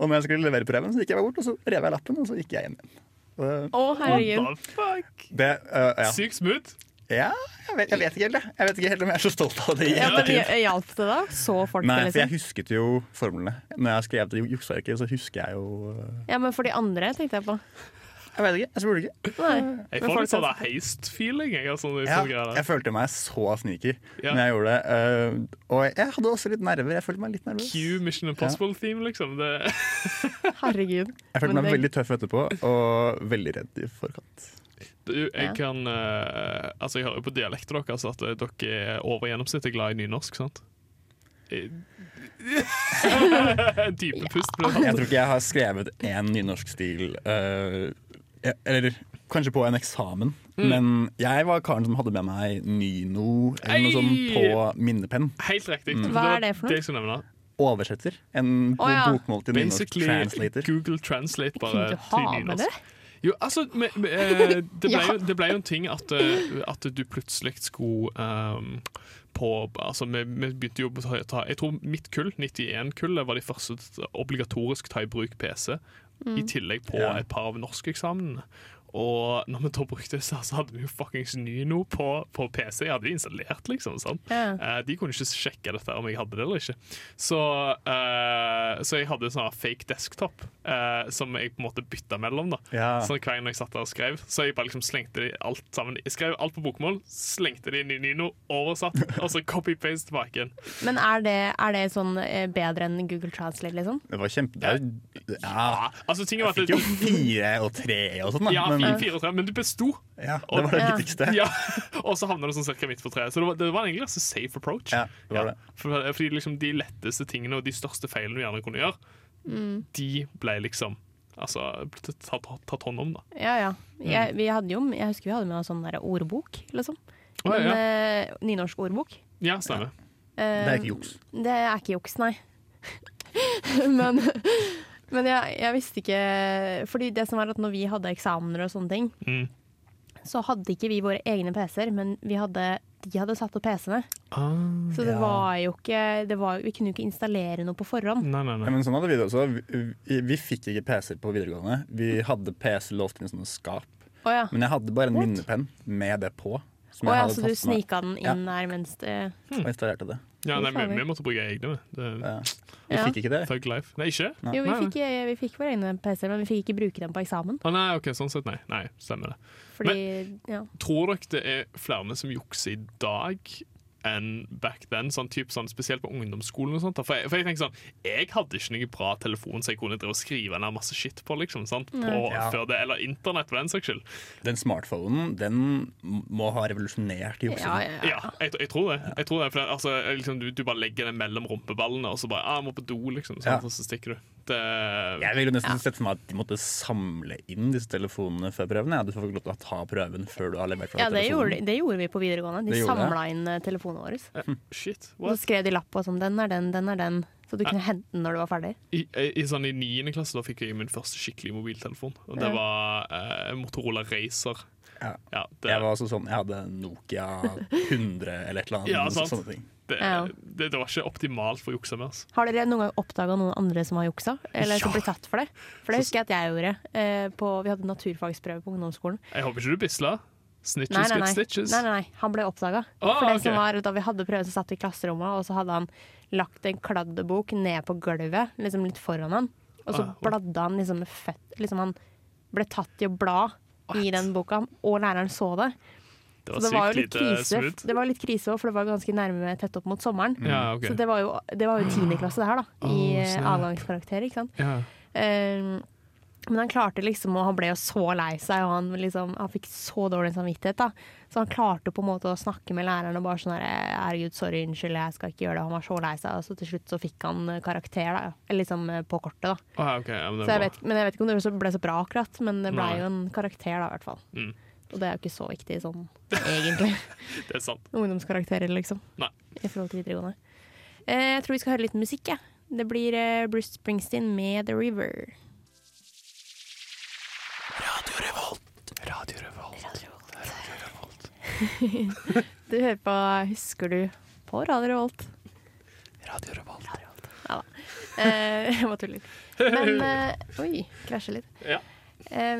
[SPEAKER 5] Og når jeg skulle levere prøven, så gikk jeg bare bort, og så rev jeg lappen, og så gikk jeg hjem igjen. Og,
[SPEAKER 2] Å, herregud.
[SPEAKER 4] What the fuck?
[SPEAKER 5] det, eh, ja.
[SPEAKER 4] Sykt smooth.
[SPEAKER 5] Ja, jeg vet, jeg vet ikke helt det. Jeg vet ikke helt om jeg er så stolt av det. i
[SPEAKER 2] Ja, men
[SPEAKER 5] ettertid.
[SPEAKER 2] hj- Hjalp det da? Så folk det,
[SPEAKER 5] Nei, for jeg
[SPEAKER 2] liksom?
[SPEAKER 5] husket jo formlene. Når jeg skrev det i juksearket, så husker jeg jo eh,
[SPEAKER 2] Ja, men for de andre, tenkte jeg på.
[SPEAKER 5] Jeg vet ikke, jeg spurte ikke.
[SPEAKER 2] Nei.
[SPEAKER 4] Jeg
[SPEAKER 2] Men
[SPEAKER 4] får litt
[SPEAKER 2] folk-
[SPEAKER 4] sånn der heist-feeling. Jeg, altså, når jeg
[SPEAKER 5] Ja,
[SPEAKER 4] så greier
[SPEAKER 5] jeg
[SPEAKER 4] der.
[SPEAKER 5] følte meg så sneaky
[SPEAKER 4] Ja.
[SPEAKER 5] når jeg gjorde det. eh, og jeg hadde også litt nerver. Jeg følte meg litt nervøs.
[SPEAKER 4] Q Mission Impossible-theme, liksom. Det,
[SPEAKER 2] Herregud.
[SPEAKER 5] Jeg følte
[SPEAKER 2] Men
[SPEAKER 5] meg
[SPEAKER 2] det-
[SPEAKER 5] veldig tøff etterpå, og veldig redd i forkant.
[SPEAKER 4] du, jeg
[SPEAKER 2] Ja.
[SPEAKER 4] kan eh, Altså, jeg hører jo på dialekten deres at eh, dere er over gjennomsnittet glad i nynorsk, sant? Eh, Dype pust ble
[SPEAKER 5] Jeg
[SPEAKER 4] tatt.
[SPEAKER 5] tror ikke jeg har skrevet én nynorskstil eh, jeg- Eller kanskje på en eksamen, men jeg var karen som hadde med meg Nyno eller noe sånt
[SPEAKER 4] Ei!
[SPEAKER 5] på minnepenn.
[SPEAKER 4] Helt riktig.
[SPEAKER 5] Mm.
[SPEAKER 2] Hva er det
[SPEAKER 4] var
[SPEAKER 2] for noe?
[SPEAKER 4] jeg skulle nevne.
[SPEAKER 5] Oversetter. En
[SPEAKER 2] Å, ja.
[SPEAKER 5] bokmål til nynorsk
[SPEAKER 4] Basically
[SPEAKER 5] translator.
[SPEAKER 4] Google Translate bare
[SPEAKER 2] Kunne du
[SPEAKER 4] til
[SPEAKER 2] ha med det?
[SPEAKER 4] nynorsk. Jo, altså, me- me- eh, det, ble
[SPEAKER 2] Ja.
[SPEAKER 4] jo, det ble jo en ting at, eh, at du plutselig skulle ehm, på, altså, vi, vi begynte jo å ta Jeg tror mitt kull, 91-kullet, var de første til å obligatorisk ta i bruk PC. I
[SPEAKER 2] Mm.
[SPEAKER 4] tillegg på
[SPEAKER 5] Ja.
[SPEAKER 4] et par av norskeksamene. Og når vi da brukte det, så så hadde vi jo fuckings Nyno på, på PC. Jeg hadde det installert, liksom. sant?
[SPEAKER 2] Ja.
[SPEAKER 4] Eh, de kunne ikke sjekke dette om jeg hadde det eller ikke. Så, eh, så jeg hadde en sånn her fake desktop eh, som jeg på en måte bytta mellom. da
[SPEAKER 5] Ja.
[SPEAKER 4] Sånn hver gang jeg satt der og skrev. Så jeg bare liksom slengte det alt sammen. Jeg skrev alt på bokmål, slengte det inn i Nino, oversatt, og så copy-paste tilbake igjen.
[SPEAKER 2] Men er det, er det sånn eh, bedre enn Google Translate, liksom?
[SPEAKER 5] Det var kjempe... Det er, jo- ja.
[SPEAKER 4] Altså, ting
[SPEAKER 5] Jeg
[SPEAKER 4] var at
[SPEAKER 5] fikk jo
[SPEAKER 4] det,
[SPEAKER 5] fire og tre og sånn, da.
[SPEAKER 4] ja,
[SPEAKER 5] men,
[SPEAKER 4] fire, fire, tre, men du besto.
[SPEAKER 5] ja, det var det
[SPEAKER 2] Ja.
[SPEAKER 5] viktigste.
[SPEAKER 4] Ja, og så havna det sånn cirka midt på treet. Så det var, det var egentlig ganske safe approach.
[SPEAKER 5] Ja, det var det.
[SPEAKER 4] For, fordi liksom de letteste tingene og de største feilene du gjerne kunne gjøre,
[SPEAKER 2] Mm.
[SPEAKER 4] de ble liksom Altså ble tatt, tatt hånd om, da.
[SPEAKER 2] Ja, ja.
[SPEAKER 4] Mm.
[SPEAKER 2] Jeg, vi hadde jo, jeg husker vi hadde med oss sånn der ordbok, liksom.
[SPEAKER 4] Å, ja,
[SPEAKER 2] Men,
[SPEAKER 4] ja.
[SPEAKER 2] eh, nynorsk ordbok.
[SPEAKER 4] Ja, stemmer.
[SPEAKER 5] Det er ikke juks.
[SPEAKER 2] Det er ikke juks, nei. men men jeg, jeg visste ikke Fordi det som var at når vi hadde eksamener og sånne ting,
[SPEAKER 4] Mm.
[SPEAKER 2] så hadde ikke vi våre egne PC-er, men vi hadde, de hadde satt opp PC-ene.
[SPEAKER 4] Ah,
[SPEAKER 2] Så det
[SPEAKER 5] Ja.
[SPEAKER 2] var jo ikke det var, Vi kunne jo ikke installere noe på forhånd.
[SPEAKER 4] Nei, nei,
[SPEAKER 5] Ja,
[SPEAKER 4] nei.
[SPEAKER 5] men sånn hadde vi det også. Vi, vi, vi fikk ikke PC-er på videregående. Vi hadde PC låst inn i sånne skap.
[SPEAKER 2] Å ja.
[SPEAKER 5] Men jeg hadde bare en minnepenn med det på. Som
[SPEAKER 2] Å
[SPEAKER 5] jeg
[SPEAKER 2] ja,
[SPEAKER 5] hadde
[SPEAKER 2] så du
[SPEAKER 5] tatt med
[SPEAKER 2] snika den
[SPEAKER 5] Ja.
[SPEAKER 2] inn der mens det
[SPEAKER 5] og installerte det.
[SPEAKER 4] Ja, nei vi, vi måtte bruke egne. vi. Det,
[SPEAKER 5] Ja. Vi
[SPEAKER 2] Ja.
[SPEAKER 5] fikk ikke det.
[SPEAKER 4] thug life. Nei, ikke? Å
[SPEAKER 2] Jo, vi
[SPEAKER 4] Nei, nei.
[SPEAKER 2] fikk, eh, vi fikk våre egne PC-er, men vi fikk ikke bruke dem på eksamen.
[SPEAKER 4] nei, ok, sånn sett, nei. Nei, Stemmer det.
[SPEAKER 2] Fordi, ja.
[SPEAKER 4] Tror dere det er flere som jukser i dag enn back then? Sånn, typ, sånn, spesielt på ungdomsskolen og sånt. da. For jeg, for jeg tenker sånn, jeg hadde ikke noe bra telefon så jeg kunne drive og skrive ned masse shit på, liksom, sant? På,
[SPEAKER 5] Ja.
[SPEAKER 4] før det, eller internett, for den saks skyld.
[SPEAKER 5] Den smartphonen den må ha revolusjonert
[SPEAKER 2] Ja,
[SPEAKER 5] juksing.
[SPEAKER 2] ja,
[SPEAKER 4] Ja, jeg, jeg tror det. Jeg tror det for det, altså, jeg liksom, du, du bare legger den mellom rumpeballene, og så bare, ah, jeg må på do, liksom, sant?
[SPEAKER 5] Ja.
[SPEAKER 4] og så stikker du. Det,
[SPEAKER 5] Jeg ville nesten sett for meg at de måtte samle inn disse telefonene før prøven. Ja, du får ikke lov til å ta prøven før du har levert fra
[SPEAKER 2] ja
[SPEAKER 5] deg
[SPEAKER 2] det,
[SPEAKER 5] telefonen.
[SPEAKER 2] gjorde, det gjorde vi på videregående.
[SPEAKER 5] Det
[SPEAKER 2] De
[SPEAKER 5] gjorde det.
[SPEAKER 2] samla inn eh, telefonene våre. Så
[SPEAKER 4] Shit, what?
[SPEAKER 2] skrev de lapp på sånn 'den er den, den er den', så du kunne hente den når du var ferdig.
[SPEAKER 4] I, i, sånn, I 9. klasse da fikk jeg min første skikkelig mobiltelefon. Og Det
[SPEAKER 2] Ja.
[SPEAKER 4] var eh, Motorola Racer.
[SPEAKER 5] Ja.
[SPEAKER 4] Ja, det,
[SPEAKER 5] Jeg var også sånn, jeg hadde Nokia 100 eller et eller annet.
[SPEAKER 4] Ja,
[SPEAKER 5] så-
[SPEAKER 4] sant.
[SPEAKER 5] sånne ting.
[SPEAKER 4] det,
[SPEAKER 2] Ja.
[SPEAKER 4] det, det var ikke optimalt for å jukse med. Altså.
[SPEAKER 2] Har dere noen gang oppdaga noen andre som har juksa? Eller som
[SPEAKER 4] Ja.
[SPEAKER 2] ble tatt for det? For det husker jeg at jeg gjorde. Eh, på, vi hadde naturfagsprøve på ungdomsskolen.
[SPEAKER 4] Jeg håper ikke du bisla. Snitches
[SPEAKER 2] Nei, nei,
[SPEAKER 4] get
[SPEAKER 2] nei.
[SPEAKER 4] stitches.
[SPEAKER 2] nei, nei, nei. Han ble oppdaga.
[SPEAKER 4] Ah,
[SPEAKER 2] for det
[SPEAKER 4] ok.
[SPEAKER 2] som var, da vi hadde prøve, så satt vi i klasserommet, og så hadde han lagt en kladdebok ned på gulvet, liksom litt foran han. Og så
[SPEAKER 4] Ah, what?
[SPEAKER 2] bladde han liksom med fett Liksom han ble tatt i å bla i den boka, og læreren så det.
[SPEAKER 4] Det
[SPEAKER 2] Så
[SPEAKER 4] var
[SPEAKER 2] det var jo litt
[SPEAKER 4] sykt lite
[SPEAKER 2] krise,
[SPEAKER 4] smooth. Mm.
[SPEAKER 2] det var litt krise også, for det var ganske nærme tett opp mot sommeren.
[SPEAKER 4] Ja, ok.
[SPEAKER 2] Så det var jo, det var jo tiendeklasse det her, da. I
[SPEAKER 4] Oh, snap.
[SPEAKER 2] avgangskarakter, ikke sant.
[SPEAKER 4] Ja.
[SPEAKER 2] Eh, men han klarte liksom, og han ble jo så lei seg, og han, liksom, han fikk så dårlig samvittighet. da Så han klarte på en måte å snakke med læreren og bare sånn her Herregud, sorry, unnskyld, jeg skal ikke gjøre det. Han var så lei seg. Og så til slutt så fikk han eh, karakter, da. Eller liksom eh, på kortet, da.
[SPEAKER 4] Å, ja, ok, ja, men
[SPEAKER 2] Så
[SPEAKER 4] det
[SPEAKER 2] jeg
[SPEAKER 4] er bra.
[SPEAKER 2] vet, men jeg vet ikke om det ble så bra akkurat, men det ble
[SPEAKER 4] Nei.
[SPEAKER 2] jo en karakter, da, i hvert fall.
[SPEAKER 4] Mm.
[SPEAKER 2] Og det er jo ikke så viktig sånn, egentlig.
[SPEAKER 4] Det er sant.
[SPEAKER 2] Ungdomskarakterer, liksom.
[SPEAKER 4] Nei.
[SPEAKER 2] I forhold til videregående. Eh, jeg tror vi skal høre litt musikk, jeg. Det blir eh, Bruce Springsteen med 'The River'.
[SPEAKER 4] Radio Revolt.
[SPEAKER 2] Du hører på Husker du på Radio Revolt?
[SPEAKER 4] Radio Revolt.
[SPEAKER 2] Ja da. Eh, jeg bare tuller. Men eh, Oi, krasjer litt.
[SPEAKER 4] Ja.
[SPEAKER 2] Eh,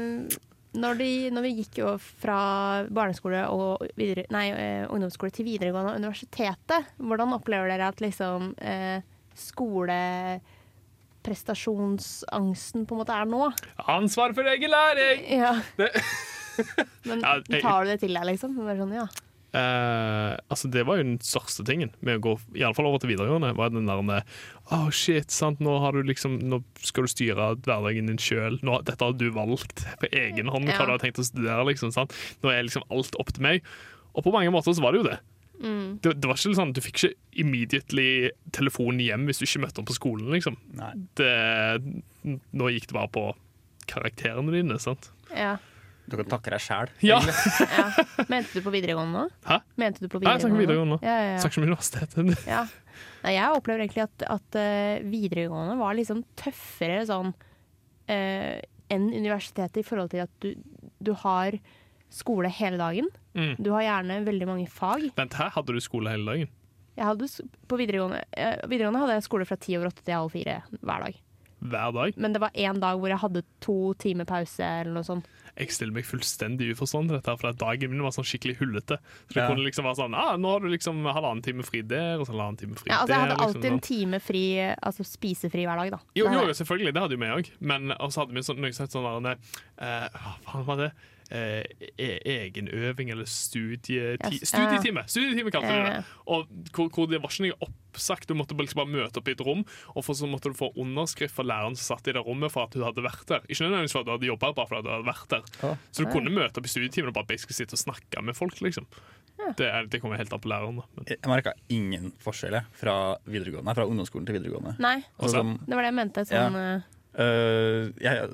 [SPEAKER 2] når, de, når vi gikk jo fra barneskole og videre, nei, eh, ungdomsskole til videregående og universitetet, hvordan opplever dere at liksom eh, skoleprestasjonsangsten på en måte er nå?
[SPEAKER 4] Ansvar for egen læring!
[SPEAKER 2] Ja.
[SPEAKER 4] Det-
[SPEAKER 2] Men
[SPEAKER 4] Ja, jeg-
[SPEAKER 2] tar du det til deg, liksom? Bare sånn, ja.
[SPEAKER 4] Eh, altså Det var jo den største tingen med å gå i alle fall over til videregående. Var den der oh shit, sant, Nå har du liksom Nå skal du styre hverdagen din sjøl. Dette har du valgt på egen hånd
[SPEAKER 2] Ja.
[SPEAKER 4] hva du har tenkt å studere. liksom, sant? Nå er liksom alt opp til meg. Og på mange måter så var det jo det.
[SPEAKER 2] Mm.
[SPEAKER 4] Det, det var ikke sånn, Du fikk ikke immediately telefon hjem hvis du ikke møtte opp på skolen. liksom.
[SPEAKER 5] Nei.
[SPEAKER 4] Det, nå gikk det bare på karakterene dine. sant?
[SPEAKER 2] ja.
[SPEAKER 5] Du kan takke deg sjæl.
[SPEAKER 4] Ja!
[SPEAKER 2] ja. Mente du på videregående nå?
[SPEAKER 4] Hæ?
[SPEAKER 2] Mente du på
[SPEAKER 4] Nei, jeg snakker
[SPEAKER 2] videregående?
[SPEAKER 4] videregående nå.
[SPEAKER 2] Ja, ja, ja.
[SPEAKER 4] Snakker ikke om universitetet.
[SPEAKER 2] Ja. Nei, jeg opplever egentlig at, at eh, videregående var liksom tøffere sånn eh, enn universitetet i forhold til at du, du har skole hele dagen.
[SPEAKER 4] Mm.
[SPEAKER 2] Du har gjerne veldig mange fag.
[SPEAKER 4] Vent, her hadde du skole hele dagen?
[SPEAKER 2] Jeg hadde, s- på videregående, eh, videregående hadde jeg skole fra ti over åtte til halv fire hver dag.
[SPEAKER 4] Hver dag?
[SPEAKER 2] Men det var én dag hvor jeg hadde to timer pause eller noe sånt.
[SPEAKER 4] Jeg stiller meg fullstendig uforstående til dette, her, for at dagen min var sånn skikkelig hullete. Så det
[SPEAKER 5] Ja.
[SPEAKER 4] kunne liksom være sånn ah, Nå har du liksom halvannen time fri der, og så halvannen time fri
[SPEAKER 2] Ja, altså, jeg
[SPEAKER 4] der.
[SPEAKER 2] hadde
[SPEAKER 4] liksom,
[SPEAKER 2] alltid en
[SPEAKER 4] sånn.
[SPEAKER 2] time fri, eh, altså spisefri hver dag, da.
[SPEAKER 4] jo,
[SPEAKER 2] Det
[SPEAKER 4] jo,
[SPEAKER 2] hadde
[SPEAKER 4] jo,
[SPEAKER 2] jeg.
[SPEAKER 4] selvfølgelig. Det hadde jo vi òg. Men også hadde vi sånn, noe sånt sånn der, eh, Hva faen var det? Eh, e- egenøving eller
[SPEAKER 2] Ja,
[SPEAKER 4] studieti
[SPEAKER 2] s-
[SPEAKER 4] studietime! Studietime kalte de
[SPEAKER 2] Ja, ja, ja.
[SPEAKER 4] det. Og hvor, hvor det var ikke noe oppsagt. Du måtte bare liksom bare møte opp i et rom, og for så måtte du få underskrift fra læreren som satt i det rommet for at du hadde vært der. Ikke nødvendigvis for at du hadde jobbet bare for at du hadde vært der.
[SPEAKER 5] Ja.
[SPEAKER 4] Så du kunne møte opp i studietimen og bare basically sitte og snakke med folk, liksom. Det, er- det kommer helt an på læreren, da. Men,
[SPEAKER 5] Jeg merka ingen forskjell jeg, fra, videregående, fra ungdomsskolen til videregående.
[SPEAKER 2] Nei,
[SPEAKER 5] Altså,
[SPEAKER 4] Også-
[SPEAKER 5] sånn,
[SPEAKER 2] det var det jeg mente.
[SPEAKER 5] Ja.
[SPEAKER 2] Sånn, eh,
[SPEAKER 5] øh, jeg,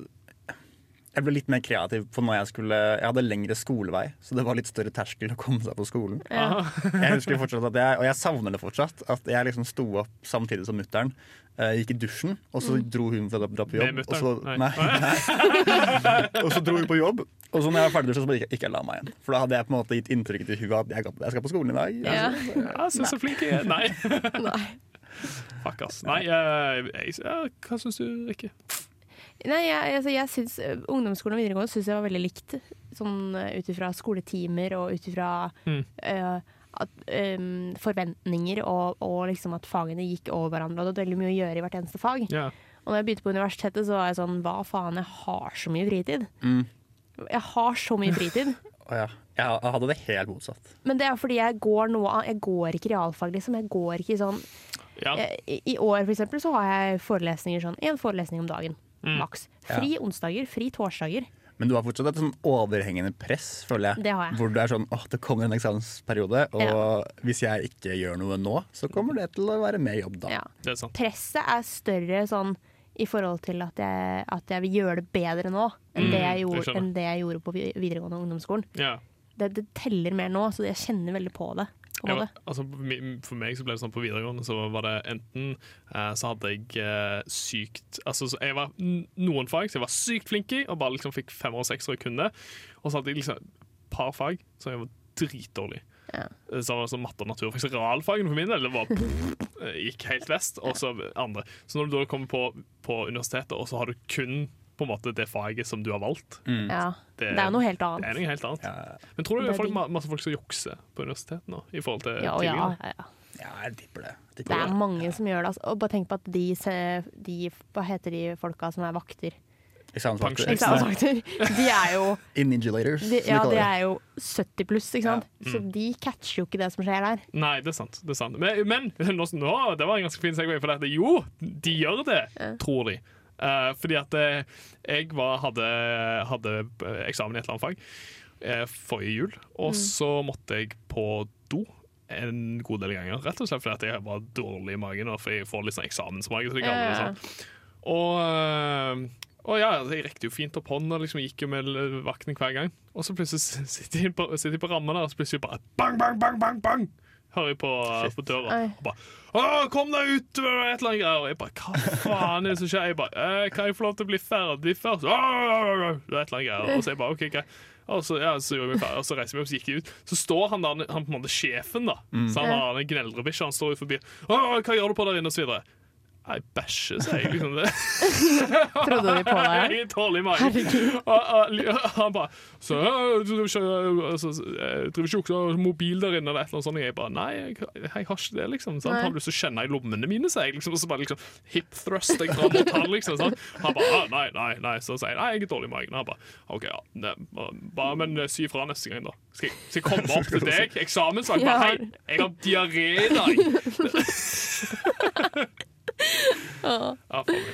[SPEAKER 5] jeg ble litt mer kreativ på når jeg skulle Jeg hadde lengre skolevei, så det var litt større terskel å komme seg på skolen. Jeg husker fortsatt at jeg, Og jeg savner det fortsatt, at jeg liksom sto opp samtidig som mutter'n. eh, gikk i dusjen, og så dro hun for å dra på jobb.
[SPEAKER 4] Mm. Med
[SPEAKER 5] og, så,
[SPEAKER 4] mutteren?
[SPEAKER 5] nei,
[SPEAKER 4] Nei.
[SPEAKER 5] nei. og så dro hun på jobb, og så når jeg var ferdig dusja, så bare gikk jeg- gikk jeg og la meg igjen. For da hadde jeg på en måte gitt inntrykk til hun at jeg, jeg skal på skolen i dag. Altså,
[SPEAKER 2] ja.
[SPEAKER 4] ja, så, så flink jeg er. Nei.
[SPEAKER 2] Nei.
[SPEAKER 4] Fuck, ass. Nei, jeg, jeg, ja, hva syns du, Rikke?
[SPEAKER 2] Nei, jeg, altså, jeg synes, ø, Ungdomsskolen og videregående syns jeg var veldig likt. Sånn ø, ut ifra skoletimer og ut ifra
[SPEAKER 4] Mm.
[SPEAKER 2] ø, at, øm, forventninger og, og liksom at fagene gikk over hverandre. Og det var veldig mye å gjøre i hvert eneste fag.
[SPEAKER 4] Ja.
[SPEAKER 2] Og når jeg begynte på universitetet, så var jeg sånn Hva faen, jeg har så mye fritid. Jeg har så mye fritid.
[SPEAKER 5] Å ja. Jeg jeg hadde det helt motsatt.
[SPEAKER 2] Men det er fordi jeg går noe av Jeg går ikke realfag, liksom. Jeg går ikke i sånn
[SPEAKER 4] Ja.
[SPEAKER 2] Eh, I i år for eksempel, så har jeg forelesninger sånn én forelesning om dagen.
[SPEAKER 4] Mm.
[SPEAKER 2] Maks. Fri onsdager, fri torsdager.
[SPEAKER 5] Men du har fortsatt et sånn overhengende press, føler jeg.
[SPEAKER 2] Det har jeg.
[SPEAKER 5] Hvor du er sånn åh, det kommer en eksamensperiode, og hvis jeg ikke gjør noe nå, så kommer det til å være mer jobb da.
[SPEAKER 2] Ja.
[SPEAKER 4] Det er sant.
[SPEAKER 2] Presset er større sånn i forhold til at jeg, at jeg vil gjøre det bedre nå enn, det, jeg
[SPEAKER 4] jeg
[SPEAKER 2] gjorde,
[SPEAKER 4] Mm, skjønner.
[SPEAKER 2] enn det jeg gjorde på vi- videregående og ungdomsskolen.
[SPEAKER 4] Ja.
[SPEAKER 2] Det, det teller mer nå, så jeg kjenner veldig på det. På en
[SPEAKER 4] Ja,
[SPEAKER 2] måte.
[SPEAKER 4] altså, for mi- for meg så ble det sånn på videregående så var det enten eh, så hadde jeg eh, sykt Altså så jeg var n- noen fag så jeg var sykt flink i, og bare liksom fikk femmer og seksere og kunne. Og så hadde jeg liksom et par fag som jeg var dritdårlig i.
[SPEAKER 2] Ja.
[SPEAKER 4] Eh, Så var det sånn matte og natur. Faktisk realfagene for min del det var eh, gikk helt vest. Og så andre. Så når du da kommer på, på universitetet, og så har du kun på en måte det faget som du har valgt,
[SPEAKER 2] Ja. Det,
[SPEAKER 4] mm. Det-
[SPEAKER 2] er jo noe helt
[SPEAKER 4] det er
[SPEAKER 2] annet.
[SPEAKER 4] noe helt annet. Men tror du
[SPEAKER 2] Det
[SPEAKER 4] det
[SPEAKER 2] er
[SPEAKER 4] er folk,
[SPEAKER 2] digg.
[SPEAKER 4] ma- masse folk som jukser på universitetet nå? I forhold til
[SPEAKER 2] Ja, ja,
[SPEAKER 4] tidligere?
[SPEAKER 2] ja, ja.
[SPEAKER 5] Ja, jeg tipper det. Jeg
[SPEAKER 2] Det
[SPEAKER 5] tipper
[SPEAKER 2] er mange som gjør det. Altså. Og bare tenk på at de, se- de Hva heter de folka som er vakter?
[SPEAKER 5] Eksamensvakter.
[SPEAKER 4] Pensjonist.
[SPEAKER 5] Eksamensvakter.
[SPEAKER 2] Eksamensvakter. De er jo
[SPEAKER 5] Ininjulators,
[SPEAKER 2] De,
[SPEAKER 5] som
[SPEAKER 2] ja, de
[SPEAKER 5] vi kaller det.
[SPEAKER 2] er jo 70 pluss, ikke sant?
[SPEAKER 4] mm.
[SPEAKER 2] Så de catcher jo ikke det som skjer der.
[SPEAKER 4] Nei, det er sant. det er sant Men, men nå, nå, det var en ganske fin segway for dette. Jo, de gjør det, tror de. Eh, fordi at eh, jeg var, hadde, hadde eksamen i et eller annet fag eh, forrige jul, og
[SPEAKER 2] Mm.
[SPEAKER 4] så måtte jeg på do en god del ganger, rett og slett fordi at jeg var dårlig i magen, og for jeg får litt sånn eksamensmage. Så det kan
[SPEAKER 2] Ja, ja, ja.
[SPEAKER 4] være sånn. Og, eh, og ja, altså, jeg rekte jo fint opp hånden og liksom gikk jo med vakten hver gang. Og så plutselig s- sitter jeg på, sitter jeg på rammen der, og så plutselig bare bang, bang, bang, bang, bang! Hører jeg på, på døra.
[SPEAKER 2] Oi.
[SPEAKER 4] Og bare, «Å, 'Kom deg ut!' eller et eller annet greier. Og jeg bare 'Hva faen er det som skjer?' Jeg bare «Eh, 'Kan jeg få lov til å bli ferdig først?' «Å, å, å, å», Det er et eller annet greier. Og så jeg bare, ok, greit. Og så, ja, så gjorde jeg meg ferdig, og så reiser jeg meg opp, så gikk jeg ut. Så står han der, han på en måte sjefen, da. Så han har en gneldrebikkje, han står ut forbi. «Å, 'Hva gjør du på der inne?' og så videre. Nei, bæsje, sier jeg liksom det.
[SPEAKER 2] Trodde de på deg?
[SPEAKER 4] Jeg er dårlig i magen. Og, og, og han bare så, «Ø, du driver ikke, altså, jeg driver ikke også med mobil der inne, eller et eller annet sånt. Jeg bare Nei, jeg, jeg har ikke det, liksom. Sant?
[SPEAKER 2] Nei.
[SPEAKER 4] Har du lyst til å kjenne i lommene mine, sier jeg. Liksom, og så bare liksom hip thrust jeg fram mot han, liksom. Sant? Han bare «Å, Nei, nei, nei. Så sier jeg nei, jeg er dårlig i magen. Han bare OK, ja. Ne, bare, men eh, si ifra neste gang, da. Skal jeg, skal jeg komme opp til deg? Eksamensvakt?
[SPEAKER 2] Ja.
[SPEAKER 4] Bare, Hei, jeg har diaré i dag. Ja, faen meg.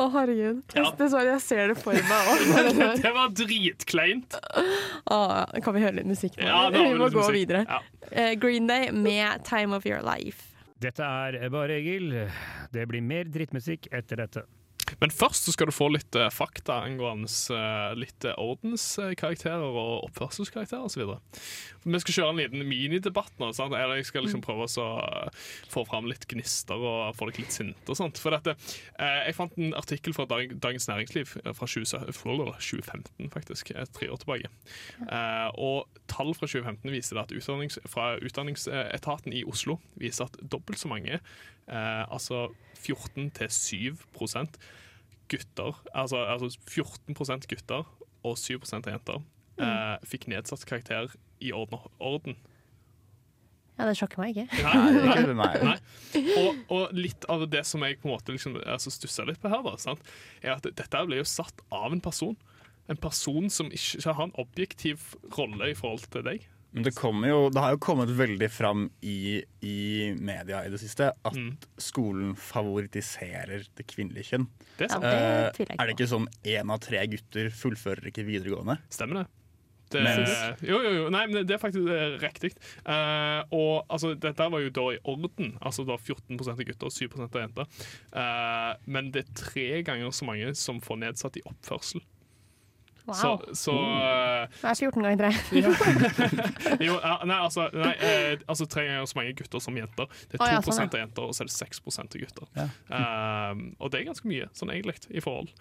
[SPEAKER 2] Å, herregud.
[SPEAKER 4] Ja.
[SPEAKER 2] Dessverre, jeg ser det for meg òg.
[SPEAKER 4] Det var dritkleint.
[SPEAKER 2] Ah, Kan vi høre litt musikk nå?
[SPEAKER 4] Ja, det var
[SPEAKER 2] vi må
[SPEAKER 4] litt
[SPEAKER 2] gå
[SPEAKER 4] musikk.
[SPEAKER 2] videre.
[SPEAKER 4] Ja.
[SPEAKER 2] Eh, Green Day med 'Time of Your Life'.
[SPEAKER 7] Dette er Bare Egil. Det blir mer drittmusikk etter dette.
[SPEAKER 4] Men først så skal du få litt eh, fakta angående eh, litt eh, ordenskarakterer og oppførselskarakterer osv. Vi skal kjøre en liten minidebatt nå. Sant? Eller jeg skal liksom prøve å så, eh, få fram litt gnister og få dere litt sinte og sånt. For dette, eh, jeg fant en artikkel fra Dag, Dagens Næringsliv eh, fra 20, fra 2015, faktisk. eh, Tre år tilbake. Eh, og tall fra 2015 viser det at utdannings, fra Utdanningsetaten i Oslo viser at dobbelt så mange, eh, altså 14-7 gutter, altså, altså 14 gutter og 7 av jenter,
[SPEAKER 5] Mm.
[SPEAKER 4] eh, fikk nedsatt karakter i orden. orden.
[SPEAKER 2] Ja, det sjokker meg ikke.
[SPEAKER 5] Nei, ikke det, nei.
[SPEAKER 4] Nei. Og, og litt av det som jeg på en måte liksom, altså stussa litt på her, da, sant? er at dette ble jo satt av en person. En person som ikke, ikke har en objektiv rolle i forhold til deg.
[SPEAKER 5] Men det, kommer jo, det har jo kommet veldig fram i, i media i det siste at skolen favoritiserer det kvinnelige kjønn.
[SPEAKER 4] Det er
[SPEAKER 2] Ja,
[SPEAKER 4] sant.
[SPEAKER 2] det
[SPEAKER 5] Eh,
[SPEAKER 2] tviler jeg
[SPEAKER 5] er det
[SPEAKER 2] ikke på.
[SPEAKER 5] ikke sånn én av tre gutter fullfører ikke videregående?
[SPEAKER 4] Stemmer det. det
[SPEAKER 5] Men-
[SPEAKER 4] jo, jo, jo. Nei, men det er faktisk eh, riktig. Eh, og altså, dette var jo da i orden. Altså da 14 av gutter og 7 av jenter. Eh, men det er tre ganger så mange som får nedsatt i oppførsel. Så, Mm.
[SPEAKER 2] Wow.
[SPEAKER 4] så eh,
[SPEAKER 2] Det er 14 ganger 3.
[SPEAKER 4] jo, ja, nei, altså, nei, eh, altså tre ganger så mange gutter som jenter. Det er 2
[SPEAKER 2] Å, ja, sånn, ja.
[SPEAKER 4] av jenter, og så er det 6 av gutter. Eh, og det er ganske mye, sånn egentlig, i forhold.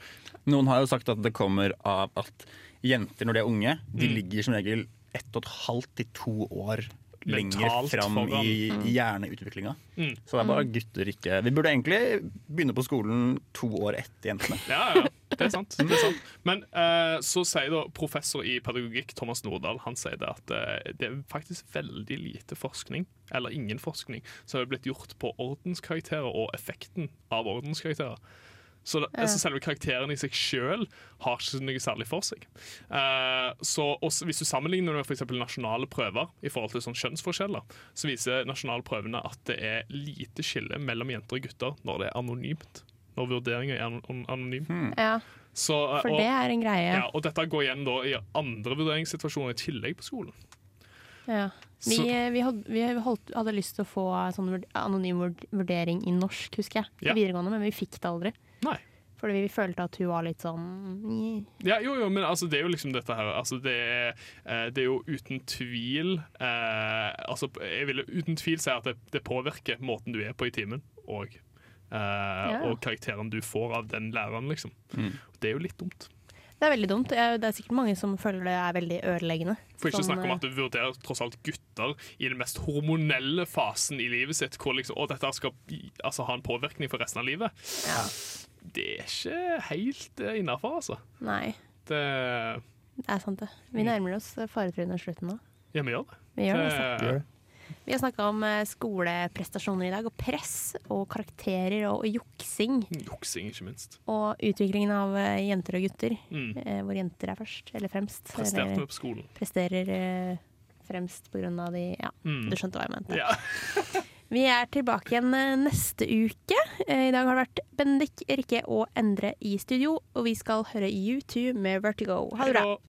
[SPEAKER 5] Noen har jo sagt at det kommer av at jenter når de er unge,
[SPEAKER 4] Mm.
[SPEAKER 5] de ligger som regel ett og et halvt til to år lenger
[SPEAKER 4] Mentalt
[SPEAKER 5] fram
[SPEAKER 4] foran.
[SPEAKER 5] i, i hjerneutviklinga.
[SPEAKER 4] Mm.
[SPEAKER 5] Så det er bare gutter ikke Vi burde egentlig begynne på skolen to år etter jentene.
[SPEAKER 4] Ja, ja, ja. Det er sant. Det er sant. Men eh, så sier da professor i pedagogikk Thomas Nordahl Han sier det at eh, det er faktisk veldig lite forskning, eller ingen forskning, som er blitt gjort på ordenskarakterer og effekten av ordenskarakterer. Så, det, så selve karakteren i seg sjøl har ikke noe særlig for seg. Eh, så også, Hvis du sammenligner det med for eksempel nasjonale prøver i forhold til sånn kjønnsforskjeller, så viser nasjonale prøvene at det er lite skille mellom jenter og gutter når det er anonymt. Når vurderinger er an- an- anonym.
[SPEAKER 2] Ja,
[SPEAKER 4] Så, eh,
[SPEAKER 2] for
[SPEAKER 4] og,
[SPEAKER 2] det er en greie.
[SPEAKER 4] ja, og dette går igjen da i andre vurderingssituasjoner i tillegg på skolen.
[SPEAKER 2] Ja. Vi, eh,
[SPEAKER 4] Så-
[SPEAKER 2] vi, hadde, vi holdt, hadde lyst til å få sånn vurd- anonym vurd- vurdering i norsk, husker jeg.
[SPEAKER 4] Ja.
[SPEAKER 2] I videregående, men vi fikk det aldri.
[SPEAKER 4] Nei.
[SPEAKER 2] Fordi vi følte at hun var litt sånn «Nji».
[SPEAKER 4] Ja, jo, jo, men altså, det er jo liksom dette her. Altså, det, er, eh, det er jo uten tvil eh, altså, Jeg vil uten tvil si at det, det påvirker måten du er på i timen, og, eh, og karakteren du får av den læreren, liksom. Det er jo litt dumt.
[SPEAKER 2] Det er veldig dumt. Jeg- Det er sikkert mange som føler det er veldig ødeleggende.
[SPEAKER 4] For ikke å
[SPEAKER 2] Sånn,
[SPEAKER 4] snakke om at du vurderer tross alt gutter i den mest hormonelle fasen i livet sitt, hvor liksom, å, dette skal altså, ha en påvirkning for resten av livet. Det er ikke helt innafor, altså.
[SPEAKER 2] eh, Nei,
[SPEAKER 4] Det
[SPEAKER 2] det er sant det. Vi nærmer oss faretrynet og slutten nå.
[SPEAKER 4] Ja, vi gjør Mm. det.
[SPEAKER 2] Vi gjør det. altså.
[SPEAKER 4] det.
[SPEAKER 2] Vi har snakka om eh, skoleprestasjoner i dag, og press og karakterer og juksing.
[SPEAKER 4] Juksing, ikke minst.
[SPEAKER 2] Og utviklingen av eh, jenter og gutter,
[SPEAKER 4] Mm.
[SPEAKER 2] eh, hvor jenter er først, eller fremst.
[SPEAKER 4] Presterte
[SPEAKER 2] eller-
[SPEAKER 4] vi på skolen.
[SPEAKER 2] presterer eh, fremst på grunn av de Ja,
[SPEAKER 4] Mm.
[SPEAKER 2] du skjønte hva jeg mente.
[SPEAKER 4] Ja.
[SPEAKER 2] Vi er tilbake igjen eh, neste uke. Eh, I dag har det vært Bendik, Rikke og Endre i studio, og vi skal høre U2 med Vertigo. Ha det bra.
[SPEAKER 4] Og-